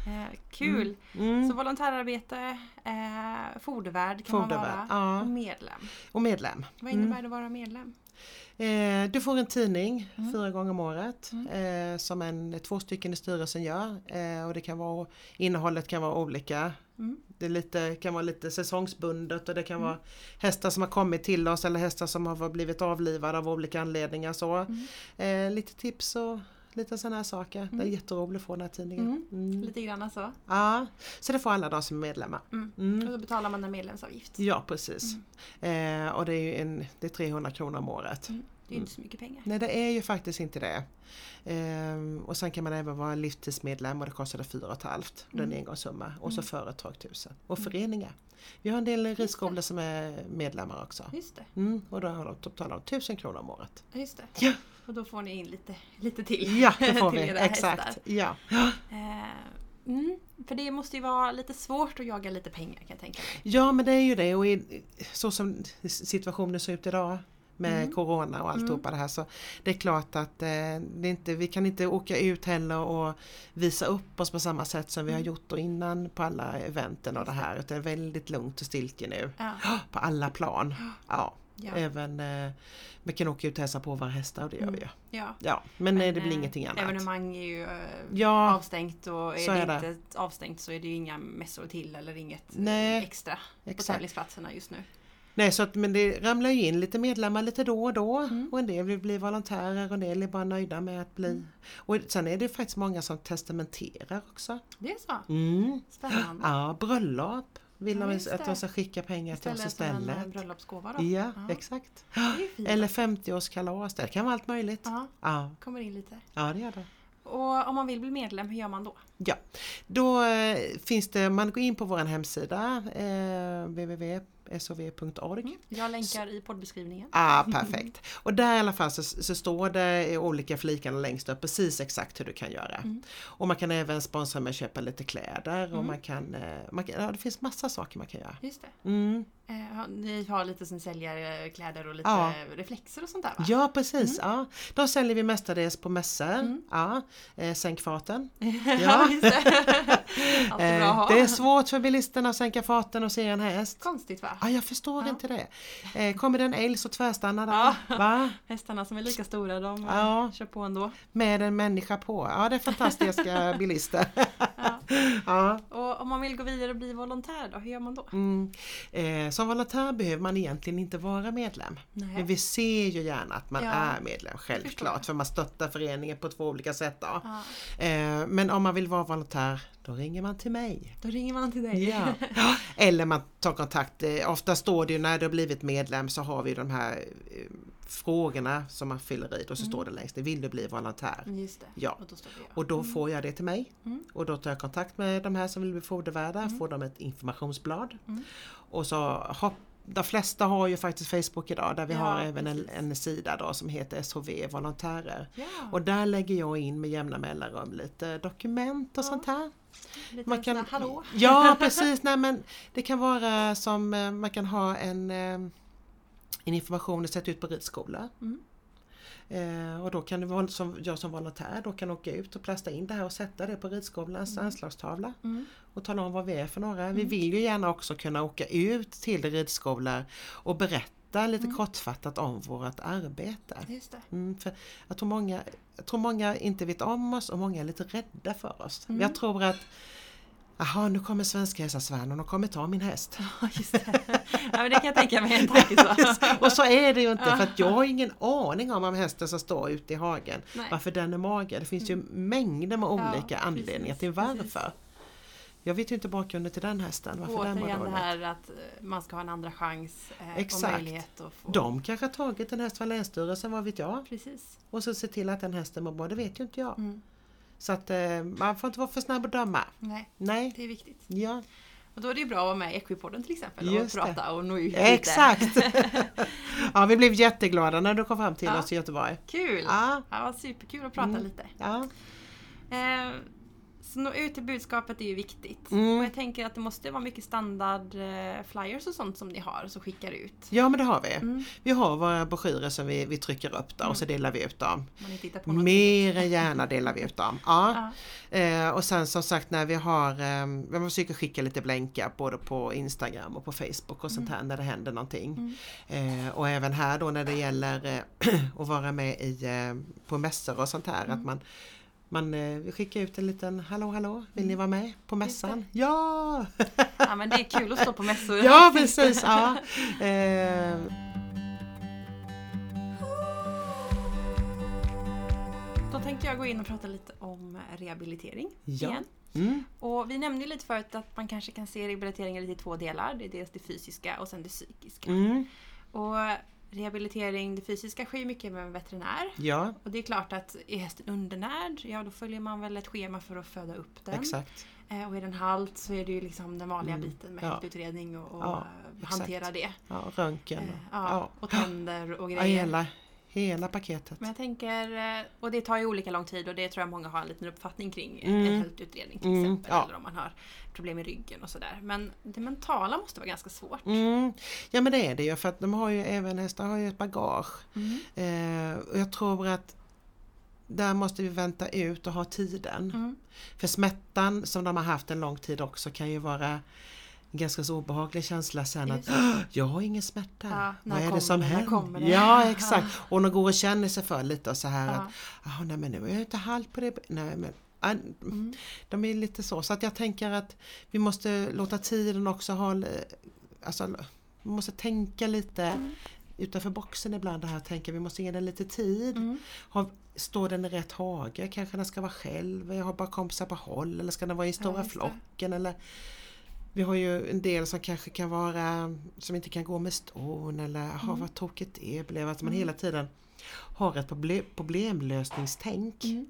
Eh, kul!
Mm.
Så volontärarbete, eh, fodervärd kan man
Fodervärd,
vara.
ja. Mm.
Och medlem.
Och medlem.
Vad innebär det att vara medlem?
Eh, du får en tidning
Mm.
fyra gånger om året eh, som en, två stycken i styrelsen gör. Eh, och det kan vara, innehållet kan vara olika.
Mm.
Det är lite, kan vara lite säsongsbundet och det kan vara hästar som har kommit till oss eller hästar som har blivit avlivade av olika anledningar. Så.
Mm.
Eh, lite tips och lite sådana här saker. Det är jätteroligt att få den här tidningen. Mm.
Mm. Lite grann så.
Ja, så det får alla de som är medlemmar.
Mm.
Mm.
Och så betalar man en medlemsavgift.
Ja precis.
Mm.
Eh, och det är, ju en, det är 300 kronor om året.
Det är ju inte så mycket pengar.
Nej det är ju faktiskt inte det. Ehm, och sen kan man även vara livstidsmedlem och det kostar 4 500 halvt. Det är en engångssumma. Och så företag 1000. Och föreningar. Vi har en del ridskolor som är medlemmar också.
Just det.
Mm, och då har de totalt 1000 kronor om året.
Just det.
Ja.
Och då får ni in lite, lite till.
Ja, det får
Till
vi.
era
Exakt.
hästar.
Ja.
Eh, mm. För det måste ju vara lite svårt att jaga lite pengar kan jag tänka mig.
ja men det är ju det och i, så som situationen ser ut idag med
Mm.
Corona och alltihopa det här så det är klart att eh, det är inte, vi kan inte åka ut heller och visa upp oss på samma sätt som vi
Mm.
har gjort då innan på alla eventen och det här. Utan det är väldigt lugnt och stiltje nu
Ja.
på alla plan. Ja.
Ja.
Även, eh, vi kan åka ut och hälsa på våra hästar och det gör vi ju.
ja.
Ja, men, eh, det blir
Mm. eh,
ingenting annat.
Evenemang är ju eh,
Ja,
avstängt och är
så
det
är det.
inte avstängt så är det ju inga mässor till eller inget eh,
Nej,
extra på
exakt.
tävlingsplatserna just nu.
Nej, så att, men det ramlar ju in lite medlemmar lite då och då
Mm.
och en del vill bli volontärer och en del är bara nöjda med att bli. Och sen är det faktiskt många som testamenterar också.
Det är så.
Mm.
Spännande.
Ja, bröllop vill
Ja, just
de att
det.
de ska skicka pengar till oss
Istället som en eh,
istället.
bröllopsgåva då.
Ja,
Ja.
exakt.
Det är ju fint.
Eller 50-årskalas, det kan vara allt möjligt. Ja,
Ja,
ja,
kommer in lite.
det gör det.
Och om man vill bli medlem, hur gör man då?
Ja, då eh, finns det, man går in på vår hemsida eh, www.sov.org
Jag länkar i poddbeskrivningen.
Ah, perfekt. Och där i alla fall så, så står det i olika flikarna längst upp precis exakt hur du kan göra.
Mm.
Och man kan även sponsra med att köpa lite kläder och man kan, eh, man kan ja, det finns massa saker man kan göra.
Just det.
Mm.
Eh, har- ni har lite som säljer eh, kläder och lite
Ja.
eh, reflexer och sånt där va? Mm.
Ja precis, ja. de säljer vi mestadels på mässor. Ja. Eh, sänk farten.
Ja, just det. Allt är bra att
Eh,
ha.
det är svårt för bilisterna att sänka farten och se en häst.
Konstigt va?
Ah, jag förstår
Ja.
inte det. Eh, kommer det en älg så tvärstannar den.
Ja.
Va?
Hästarna som är lika stora de eh,
Ja.
kör på ändå.
Med en människa på. Ja det är fantastiska bilister.
Ja.
ja.
Och om man vill gå vidare och bli volontär då, hur gör man då?
Mm. Eh, som volontär behöver man egentligen inte vara medlem.
Nej.
Men vi ser ju gärna att man
Ja.
är medlem
förstår jag.
självklart för man stöttar föreningen på två olika sätt. Då.
Ja.
Eh, men om man vill vara volontär då ringer man till mig.
Då ringer man till dig.
Ja. Eller man tar kontakt. eh, Ofta står det ju när du har blivit medlem så har vi de här eh, frågorna som man fyller i och så
Mm.
står det längst ner, vill du bli volontär?
Just det.
Ja.
Och då står det ja.
Och då får jag det till mig.
Mm.
Och då tar jag kontakt med de här som vill bli fodervärdar, får de ett informationsblad.
Mm.
Och så har, de flesta har ju faktiskt Facebook idag där vi
Ja,
har även en,
precis.
en sida då som heter SHV Volontärer.
Ja.
Och där lägger jag in med jämna mellanrum lite dokument och sånt här.
lite
Man kan,
sådär, hallå?
Ja precis, nej men det kan vara som eh, man kan ha en, eh, en information och sätta ut på ridskola.
Mm.
Eh, och då kan du, vara- som, jag som volontär då kan åka ut och plasta in det här och sätta det på ridskolans anslagstavla
Mm.
och tala om vad vi är för några. Vi vill ju gärna också kunna åka ut till ridskolor och berätta lite
Mm.
kortfattat om vårt arbete.
Just det.
Mm, för jag, tror många,
Mm.
jag tror många inte vet om oss och många är lite rädda för oss. Jag tror att Jaha, nu kommer svenska hästar och de kommer ta min häst.
Ja, just det. Ja, men det kan jag tänka mig en tanke så.
och så är det ju inte för att jag har ingen aning om, om hästen som står ute i hagen,
Nej. Mm.
varför den är mager. Det finns ju mängder med
Ja,
olika anledningar till
precis,
varför.
precis.
Jag vet ju inte bakgrunden till den hästen, varför den var
Återigen det
dålig.
här att eh, man ska ha en andra chans eh, och
Exakt.
möjlighet att få...
De kanske har tagit en häst från Länsstyrelsen, vad vet jag?
Precis.
Och så se till att den hästen mår bra, det vet ju inte jag.
Mm.
Så att eh, man får inte vara för snabb att döma.
Nej,
Nej.
det är viktigt.
Ja,
Och då är det ju bra att vara med i Equipodden till exempel och
Just det.
prata och nå ut lite.
exakt! ja, vi blev jätteglada när du kom fram till
Ja.
oss i Göteborg.
Kul!
Ja,
Ja, vad superkul att prata
Mm.
lite.
ja.
Eh, så nå ut till budskapet är ju viktigt.
Mm.
Och jag tänker att det måste vara mycket standard eh, flyers och sånt som ni har som skickar ut.
ja men det har vi.
Mm.
Vi har våra broschyrer som vi, vi trycker upp där och så delar vi ut dem.
Om man inte hittar på något.
Mer än gärna delar vi ut dem. Ja.
Ja.
Eh, och sen som sagt när vi har, eh, vi försöker skicka lite blänkar både på Instagram och på Facebook och
Mm.
sånt här när det händer någonting. Eh, och även här då när det gäller eh, att vara med i, eh, på mässor och sånt här att
Mm.
man man eh, vi skickar ut en liten hallå hallå, vill ni
Mm.
vara med på mässan? Ja!
ja, men det är kul att stå på mässor.
Ja precis! Ja. Eh,
Då tänkte jag gå in och prata lite om rehabilitering
Ja.
igen.
mm,
Och vi nämnde ju lite förut att man kanske kan se rehabiliteringen lite i två delar. Det är dels det fysiska och sen det psykiska.
mm,
Och rehabilitering, det fysiska sker ju mycket med en veterinär.
ja,
Och det är klart att är hästen undernärd, ja då följer man väl ett schema för att föda upp den.
exakt. Mm.
Eh, Och är den halt så är det ju liksom den vanliga biten med
Ja.
hästutredning och, och
Ja,
eh,
exakt.
hantera det.
Ja, röntgen.
Eh,
och-
Ja, och tänder och
Ja,
grejer.
hela, hela paketet.
Men jag tänker, eh, och det tar ju olika lång tid och det tror jag många har en liten uppfattning kring.
Mm.
En hälsoutredning till
Mm,
exempel.
ja.
Eller om man har problem i ryggen och sådär. Men det mentala måste vara ganska svårt.
Mm. Ja men det är det ju för att de har ju även hästar har ju ett bagage.
Mm.
Eh, och jag tror att där måste vi vänta ut och ha tiden.
Mm.
För smärtan som de har haft en lång tid också kan ju vara en ganska så obehaglig känsla sen att
Just det.
"Åh, jag har ingen smärta.
Ja, när
Vad är
kommer
det som
det? När kommer
händer?
det?
Ja exakt. Och de går och känner sig för lite och så här
Ja.
att "Ah, nej men nu är jag inte halt på det. Nej, men, ah, De är lite så, så att jag tänker att vi måste låta tiden också ha, li- alltså vi måste tänka lite utanför boxen ibland det här, tänka vi måste ge den lite tid.
Mm.
Ha, står den i rätt hage? Kanske den ska vara själv? Jag har bara kompisar på håll eller ska den vara i stora
just det.
flocken? Eller, vi har ju en del som kanske kan vara som inte kan gå med ston eller ha
Mm.
vad tråkigt det blev. Att man hela tiden har ett proble- problemlösningstänk.
Mm.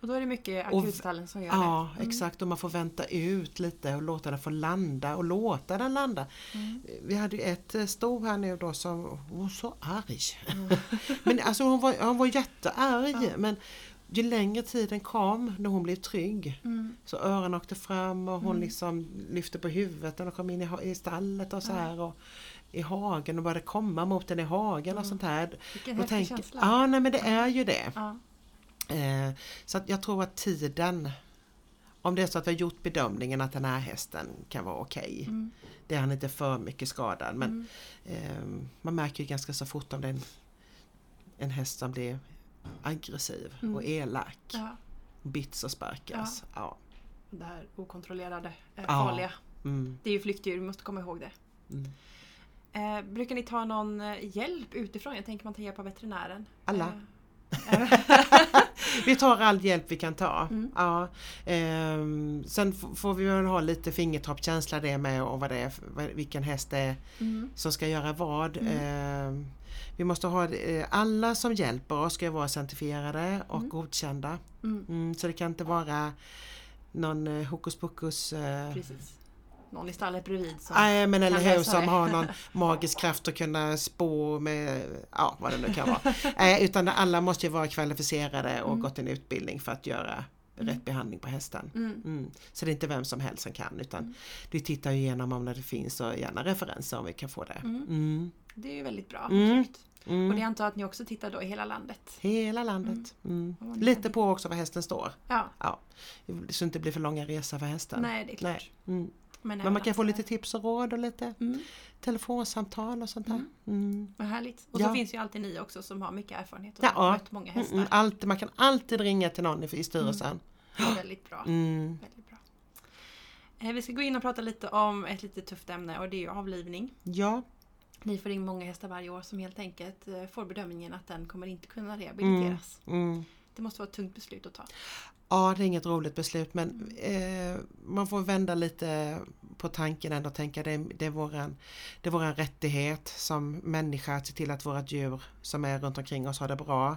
Och då är det mycket
Och-
akutstallen som gör det. Mm.
Ja exakt och man får vänta ut lite och låta den få landa och låta den landa.
Mm.
Vi hade ju ett eh, sto här nu då som hon var så arg.
Mm.
men alltså hon var, hon var jättearg men ju längre tiden kom när hon blev trygg
Mm.
så öronen åkte fram och hon liksom lyfte på huvudet när hon kom in i, ha- i stallet och så här och i hagen och började komma mot den i hagen
Mm.
och sånt här.
Vilken
Och
häftig
tänk-
känsla.
Ja nej men det är ju det.
Ja.
Eh, Så att jag tror att tiden, om det är så att vi har gjort bedömningen att den här hästen kan vara okej.
Mm.
Det är han inte för mycket skadad men eh, man märker ju ganska så fort om det är en, en häst som blir aggressiv och elak.
Mm. Ja.
Bits och sparkas. Ja.
Det här okontrollerade, eh,
Ja.
farliga.
Mm.
Det är ju flyktdjur, vi måste komma ihåg det.
Mm.
Eh, brukar ni ta någon eh, hjälp utifrån? Jag tänker man tar hjälp av veterinären.
Alla.
Eh,
Vi tar all hjälp vi kan ta.
Mm.
Ja. Ehm, sen f- får vi väl ha lite fingertoppkänsla det med och vad det är, för- vad- vilken häst det är
Mm.
som ska göra vad. Ehm, vi måste ha, eh, alla som hjälper oss ska ju vara certifierade och godkända.
Mm.
Mm, så det kan inte vara någon eh, hokus pokus eh,
Precis. Någon i stallet bredvid som...
Nej men eller
Kan
hur,
lösa
som
det.
har någon magisk kraft att kunna spå med, ja vad det nu kan vara. Eh, utan alla måste ju vara kvalificerade och gått en utbildning för att göra rätt behandling på hästen.
Mm.
Mm. Så det är inte vem som helst som kan utan vi tittar ju igenom om det finns och gärna referenser om vi kan få det. Mm.
Det är ju väldigt bra.
Mm.
Tryggt.
Mm.
Och det antar jag att ni också tittar då i hela landet.
Hela landet. Mm.
Ja, men-
Lite på också var hästen står.
Ja,
Ja. Så det inte blir för långa resor för hästen.
nej det är klart.
Nej. Mm. Men
även
man kan få
att-
lite tips och råd och lite
Mm.
telefonsamtal och sånt där. Mm.
Vad härligt. Och så
Ja.
finns ju alltid ni också som har mycket erfarenhet och
Ja.
har mött många hästar.
Mm, allt, man kan alltid ringa till någon i i styrelsen.
Det är väldigt bra.
Mm.
Väldigt bra. Eh, Vi ska gå in och prata lite om ett lite tufft ämne och det är ju avlivning.
Ja,
Ni får in många hästar varje år som helt enkelt eh, får bedömningen att den kommer inte kunna rehabiliteras.
mm.
Det måste vara ett tungt beslut att ta.
ja det är inget roligt beslut men eh, man får vända lite på tanken ändå och tänka det, det, är våran, det är våran rättighet som människa att se till att våra djur som är runt omkring oss har det bra.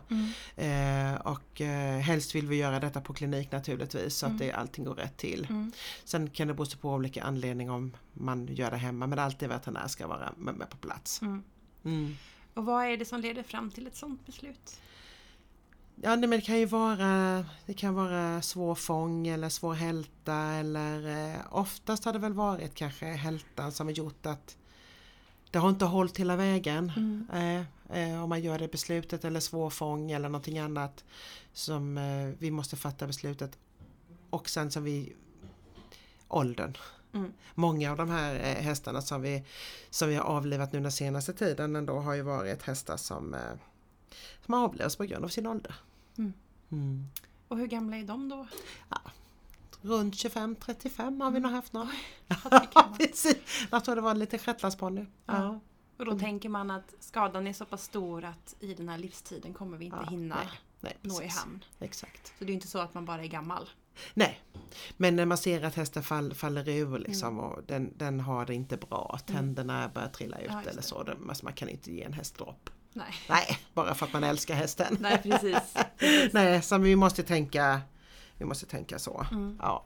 Eh, och eh, helst vill vi göra detta på klinik naturligtvis så att det, allting går rätt till.
Mm.
Sen kan det bero på olika anledningar om man gör det hemma men alltid veterinär ska vara med, med på plats.
Mm.
Mm.
Och vad är det som leder fram till ett sådant beslut?
Ja nej, men det kan ju vara, det kan vara svår fång eller svår hälta eller eh, oftast har det väl varit kanske hältan som har gjort att det har inte hållit hela vägen. Eh, eh, om man gör det beslutet eller svår fång eller någonting annat som eh, vi måste fatta beslutet och sen som vi åldern.
Mm.
Många av de här eh, hästarna som vi, som vi har avlivat nu den senaste tiden ändå har ju varit hästar som, eh, som har avlivats på grund av sin ålder.
Mm.
Mm.
Och hur gamla är de då?
Runt 25-35
Mm.
har vi nog haft någon.
Att vi kan-
Precis. Jag tror det var en liten shetlandsponny. Ja. Mm.
Och då tänker man att skadan är så pass stor att i den här livstiden kommer vi inte
Ja,
hinna
Nej,
nå i
precis.
hamn.
Exakt.
Så det är ju inte så att man bara är gammal.
Nej, men när man ser att hästen fall, faller
Mm.
ur liksom och den, den har det inte bra, tänderna börjar trilla ut
Ja, just
eller
det.
så. Det- Alltså man kan inte ge en häst dropp.
Nej,
Nej, bara för att man älskar hästen.
Nej precis.
Nej, så vi måste tänka, vi måste tänka så.
Mm.
Ja.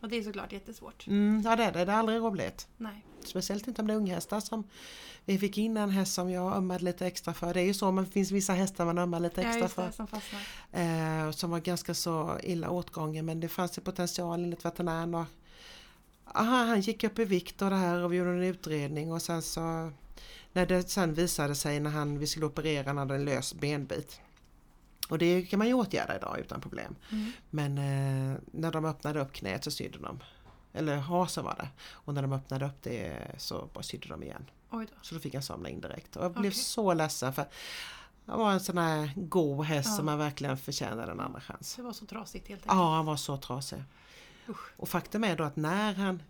Och det är såklart jättesvårt.
Mm, ja, det är det. Det är aldrig roligt.
Nej.
Speciellt inte om det är unghästar som vi fick in en häst som jag ömmade lite extra för. Det är ju så, men det finns vissa hästar man ömmar lite
Ja,
extra
just
för.
det, som fastnar.
Eh, och som var ganska så illa åtgången men det fanns ju potential enligt veterinären. Och, aha, han gick upp i vikt och det här och vi gjorde en utredning och sen så när det sen visade sig när han, vi skulle operera, han hade en lös benbit. Och det kan man ju åtgärda idag utan problem.
Mm.
Men eh, när de öppnade upp knät så sydde de. Eller hasen var det. Och när de öppnade upp det så bara sydde de igen.
Oj då.
Så då fick han somna in direkt. Och jag blev
Okej.
så ledsen för han var en sån här god häst
Ja.
som man verkligen förtjänade en andra chans.
Så det var så trasigt helt enkelt.
Ja, han var så trasig.
Usch.
Och faktum är då att när han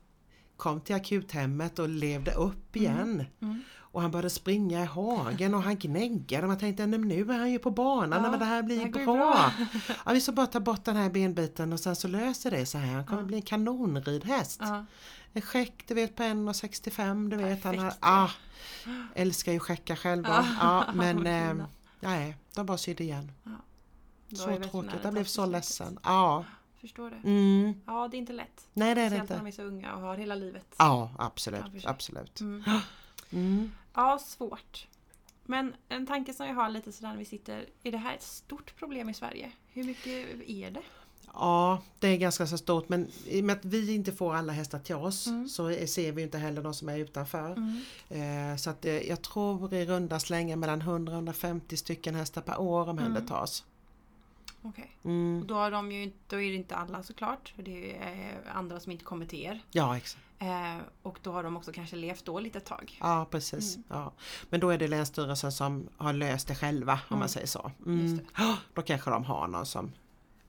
kom till akuthemmet och levde upp igen
Mm.
och han började springa i hagen och han gneggade och man tänkte "Nej, men nu är han ju på banan,
Ja,
men det här blir
det här går
bra.
ju bra.
Ja, vi ska bara ta bort den här benbiten och sen så löser det sig här. Han kommer
Ja.
bli en kanonridhäst.
Ja.
En skäck du vet på 1,65 du vet. Han har,
Perfekt.
ah, älskar ju skäckar själva.
Ja.
Ja. men
Vad
eh,
fina.
nej, de bara sydde igen.
Då har ju
Så
veterinären
tråkigt, jag blev
tagit
så
beslutet.
ledsen. Ja.
Förstår det.
Mm.
Ja, det är inte lätt.
Nej det är det
Speciellt när
inte.
de är så unga och har hela livet.
Ja
Ja,
absolut,
precis.
absolut.
Mm.
Mm.
Ja, svårt. Men en tanke som jag har lite sådär när vi sitter, är det här ett stort problem i Sverige? Hur mycket är det?
Ja, det är ganska så stort men i och med att vi inte får alla hästar till oss
Mm.
så är- ser vi ju inte heller de som är utanför.
Mm.
Eh, så att eh, jag tror i runda slängar mellan 100-150 stycken hästar per år
Mm.
omhändertas.
Okej. Och
Mm.
Då, har de ju, inte- då är det inte alla såklart, för det är eh, andra som inte kommer till er.
Ja, exakt.
Eh, och då har de också kanske levt dåligt ett tag.
Ja, precis.
Mm.
Ja. Men då är det Länsstyrelsen som har löst det själva om
Mm.
man säger så. Mm.
Just
Ja, Då kanske de har någon som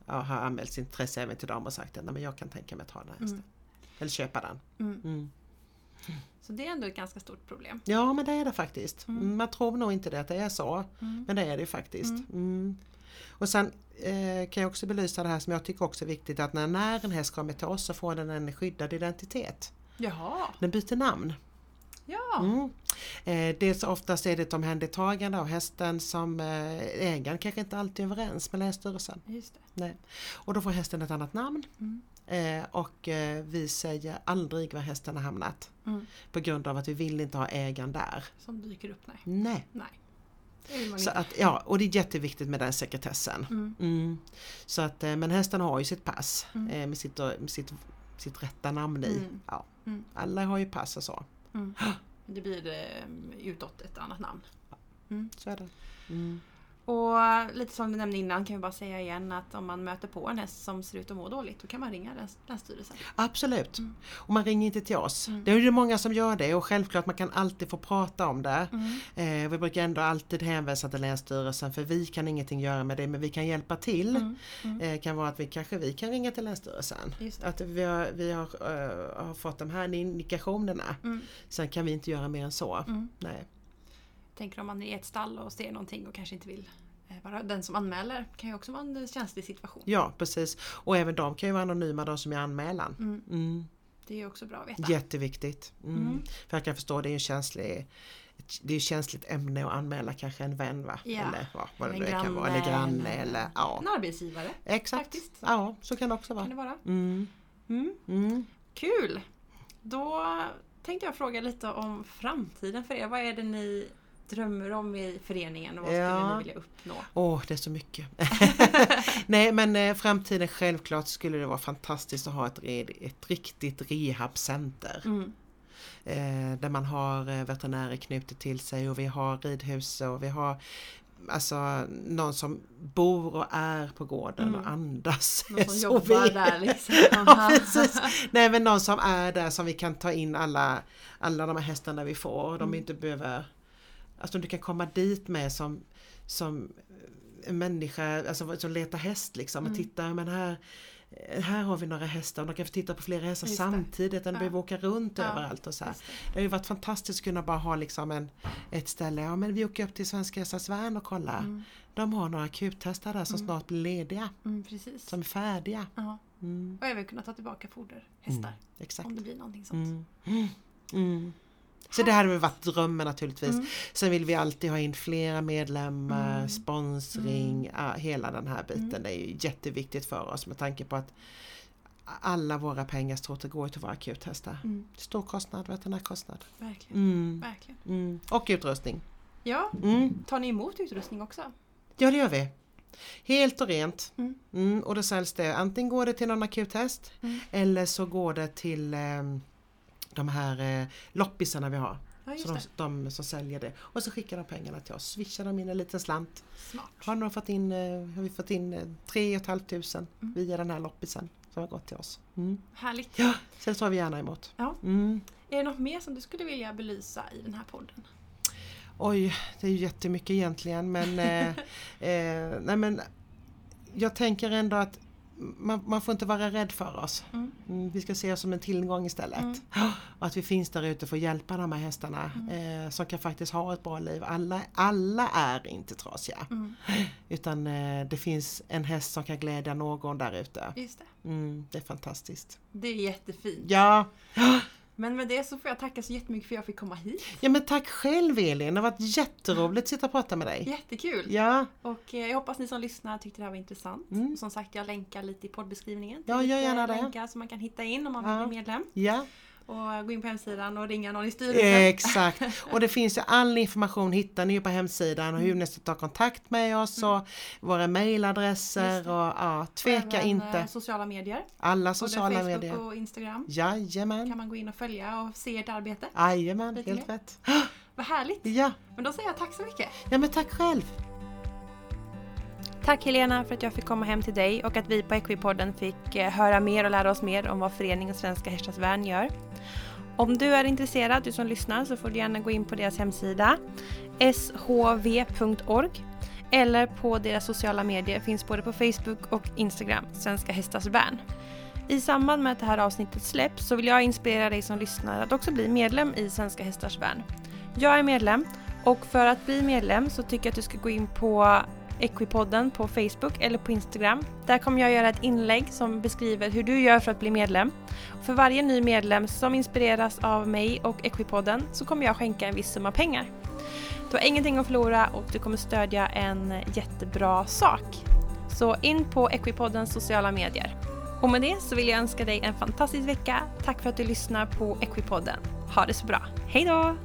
ja, har anmält sitt intresse även till dem och sagt att "Nej, men jag kan tänka mig att ta den här hästen. Eller köpa den.
Mm.
Mm.
Så det är ändå ett ganska stort problem.
Ja men det är det faktiskt. Mm, Man tror nog inte det att det är så.
Mm.
Men det är det ju faktiskt.
Mm.
Mm. Och sen eh, kan jag också belysa det här som jag tycker också är viktigt att när, när en häst kommer till oss så får den en skyddad identitet.
Jaha!
Den byter namn.
Ja!
Mm. Eh, dels oftast är det ett omhändertagande av hästen som eh, ägaren kanske inte alltid är överens med Länsstyrelsen.
Just det.
Nej. Och då får hästen ett annat namn.
Mm.
Eh, och eh, vi säger aldrig var hästen har hamnat.
Mm.
På grund av att vi vill inte ha ägaren där.
Som dyker upp, nej.
Nej.
Nej. Det vill man
Så
inte.
att, ja, och det är jätteviktigt med den sekretessen.
Mm.
Mm. Så att, eh, men hästen har ju sitt pass
Mm.
eh, med, sitt, med sitt, sitt rätta namn i.
Mm.
Ja.
Mm.
Alla har ju pass och så.
Mm. Det blir eh, utåt ett annat namn.
Så är det.
Och Och lite som vi nämnde innan kan vi bara säga igen att om man möter på en häst som ser ut att må dåligt då kan man ringa läns- Länsstyrelsen.
Absolut.
Mm.
Och man ringer inte till oss.
Mm.
Det är ju många som gör det och självklart man kan alltid få prata om det.
Mm.
Eh, vi brukar ändå alltid hänvisa till Länsstyrelsen för vi kan ingenting göra med det men vi kan hjälpa till.
Mm.
Eh, kan vara att vi kanske vi kan ringa till Länsstyrelsen.
Just det.
Att vi har, vi har, eh, har fått de här indikationerna.
Mm.
Sen kan vi inte göra mer än så.
Mm.
Nej.
Tänker om man är i ett stall och ser någonting och kanske inte vill eh, vara den som anmäler. kan ju också vara en eh, känslig situation.
Ja precis. Och även de kan ju vara anonyma de som gör anmälan.
Mm.
Mm.
Det är ju också bra att veta.
Jätteviktigt. Mm.
Mm.
För jag kan förstå det är ju en känslig det är ju ett känsligt ämne att anmäla kanske en vän va?
Ja.
Eller vad, vad det
Eller
nu kan vara. Eller
granne.
granne eller ja.
En arbetsgivare
Exakt.
Faktiskt.
Ja, så kan det också
kan
vara.
det vara.
Mm.
Mm.
Mm.
Kul! Då tänkte jag fråga lite om framtiden för er. Vad är det ni drömmer om i föreningen och vad skulle
Ja.
ni vilja uppnå?
Åh, det är så mycket. Nej men eh, framtiden självklart skulle det vara fantastiskt att ha ett, re- ett riktigt rehabcenter.
Mm.
Eh, där man har eh, veterinärer knutet till sig och vi har ridhus och vi har alltså någon som bor och är på gården och
Mm.
andas.
Någon som
Så
jobbar
vi-
där liksom.
Ja, precis. Nej men någon som är där som vi kan ta in alla, alla de här hästarna vi får. De
Mm.
inte behöver... Alltså du kan komma dit med som, som eh, en människa alltså, som letar häst liksom och
Mm.
titta men här eh, här har vi några hästar och de kan få titta på flera hästar
Just det.
samtidigt. Den
Ja.
behöver åka runt
Ja,
överallt och så här.
Just
Det har ju varit fantastiskt att kunna bara ha liksom en, ett ställe. Ja men vi åker upp till Svenska Hästars Värn och kollar.
det. Mm.
De har några akuthästar där som
Mm.
snart blir lediga.
Mm, precis.
Som är färdiga.
Ja.
Mm.
Och även kunna ta tillbaka foderhästar
Mm, Exakt.
om det blir någonting sånt.
Mm. Mm. Så det hade väl varit drömmen naturligtvis.
Mm.
Sen vill vi alltid ha in flera medlemmar,
Mm.
sponsring, ja, hela den här biten. Det är ju jätteviktigt för oss med tanke på att alla våra pengar står till går till våra akuthästar.
Mm.
Stor kostnad, veterinärkostnad.
Verkligen.
Mm.
Verkligen.
Mm. Och utrustning.
Ja,
Mm.
tar ni emot utrustning också?
Ja det gör vi. Helt och rent.
Mm.
Mm, och då säljs det, antingen går det till någon akuthäst
Mm.
eller så går det till ehm, de här eh, loppisarna vi har.
Ja, just
Så de,
det.
de som säljer det. Och så skickar de pengarna till oss. Swishar de in en liten slant.
Smart.
Har, någon fått in, eh, har vi fått in eh, 3 500
Mm.
via den här loppisen som har gått till oss. Mm.
Härligt.
Ja, så det tar vi gärna emot.
Ja.
Mm.
Är det något mer som du skulle vilja belysa i den här podden?
Oj, det är ju jättemycket egentligen men, eh, eh, nej men jag tänker ändå att man, man får inte vara rädd för oss.
Mm.
Mm, Vi ska se oss som en tillgång istället.
Mm.
Och att vi finns där ute för att hjälpa de här hästarna
Mm.
eh, som kan faktiskt ha ett bra liv. Alla, alla är inte trasiga.
Mm.
Utan eh, det finns en häst som kan glädja någon där ute.
Just det.
Mm, det är fantastiskt.
Det är jättefint.
Ja,
Men med det så får jag tacka så jättemycket för att jag fick komma hit.
ja men tack själv Elin, det har varit jätteroligt att sitta och prata med dig.
Jättekul!
Ja,
Och eh, jag hoppas ni som lyssnar tyckte det här var intressant.
Mm.
Och Som sagt, jag länkar lite i poddbeskrivningen.
Ja, gör
lite
gärna det.
länkar som man kan hitta in om man
Ja.
vill bli medlem.
ja.
Och gå in på hemsidan och ringa någon i
Eh,
styrelsen.
Exakt! Och det finns ju all information hittar ni ju på hemsidan och
Mm.
hur ni ska ta kontakt med oss och våra mailadresser
Just
och
det.
ja, tveka
Även, eh,
inte.
sociala medier.
Alla
Både
sociala
Facebook
medier.
och Instagram kan
Jajamän!
man gå in och följa och se ert arbete.
Jajamän,
Lite
helt
mer.
rätt.
Vad härligt!
Ja,
Men då säger jag tack så mycket!
ja men tack själv!
Tack Helena för att jag fick komma hem till dig och att vi på Equipodden fick eh, höra mer och lära oss mer om vad föreningen Svenska Hästars Värn gör. Om du är intresserad, du som lyssnar, så får du gärna gå in på deras hemsida shv.org eller på deras sociala medier, finns både på Facebook och Instagram, Svenska Hästars Värn. I samband med att det här avsnittet släpps så vill jag inspirera dig som lyssnar att också bli medlem i Svenska Hästars Värn. Jag är medlem och för att bli medlem så tycker jag att du ska gå in på Equipodden på Facebook eller på Instagram. Där kommer jag göra ett inlägg som beskriver hur du gör för att bli medlem. För varje ny medlem som inspireras av mig och Equipodden så kommer jag skänka en viss summa pengar. Du har ingenting att förlora och du kommer stödja en jättebra sak. Så in på Equipoddens sociala medier. Och med det så vill jag önska dig en fantastisk vecka. Tack för att du lyssnar på Equipodden. Ha det så bra. Hej då!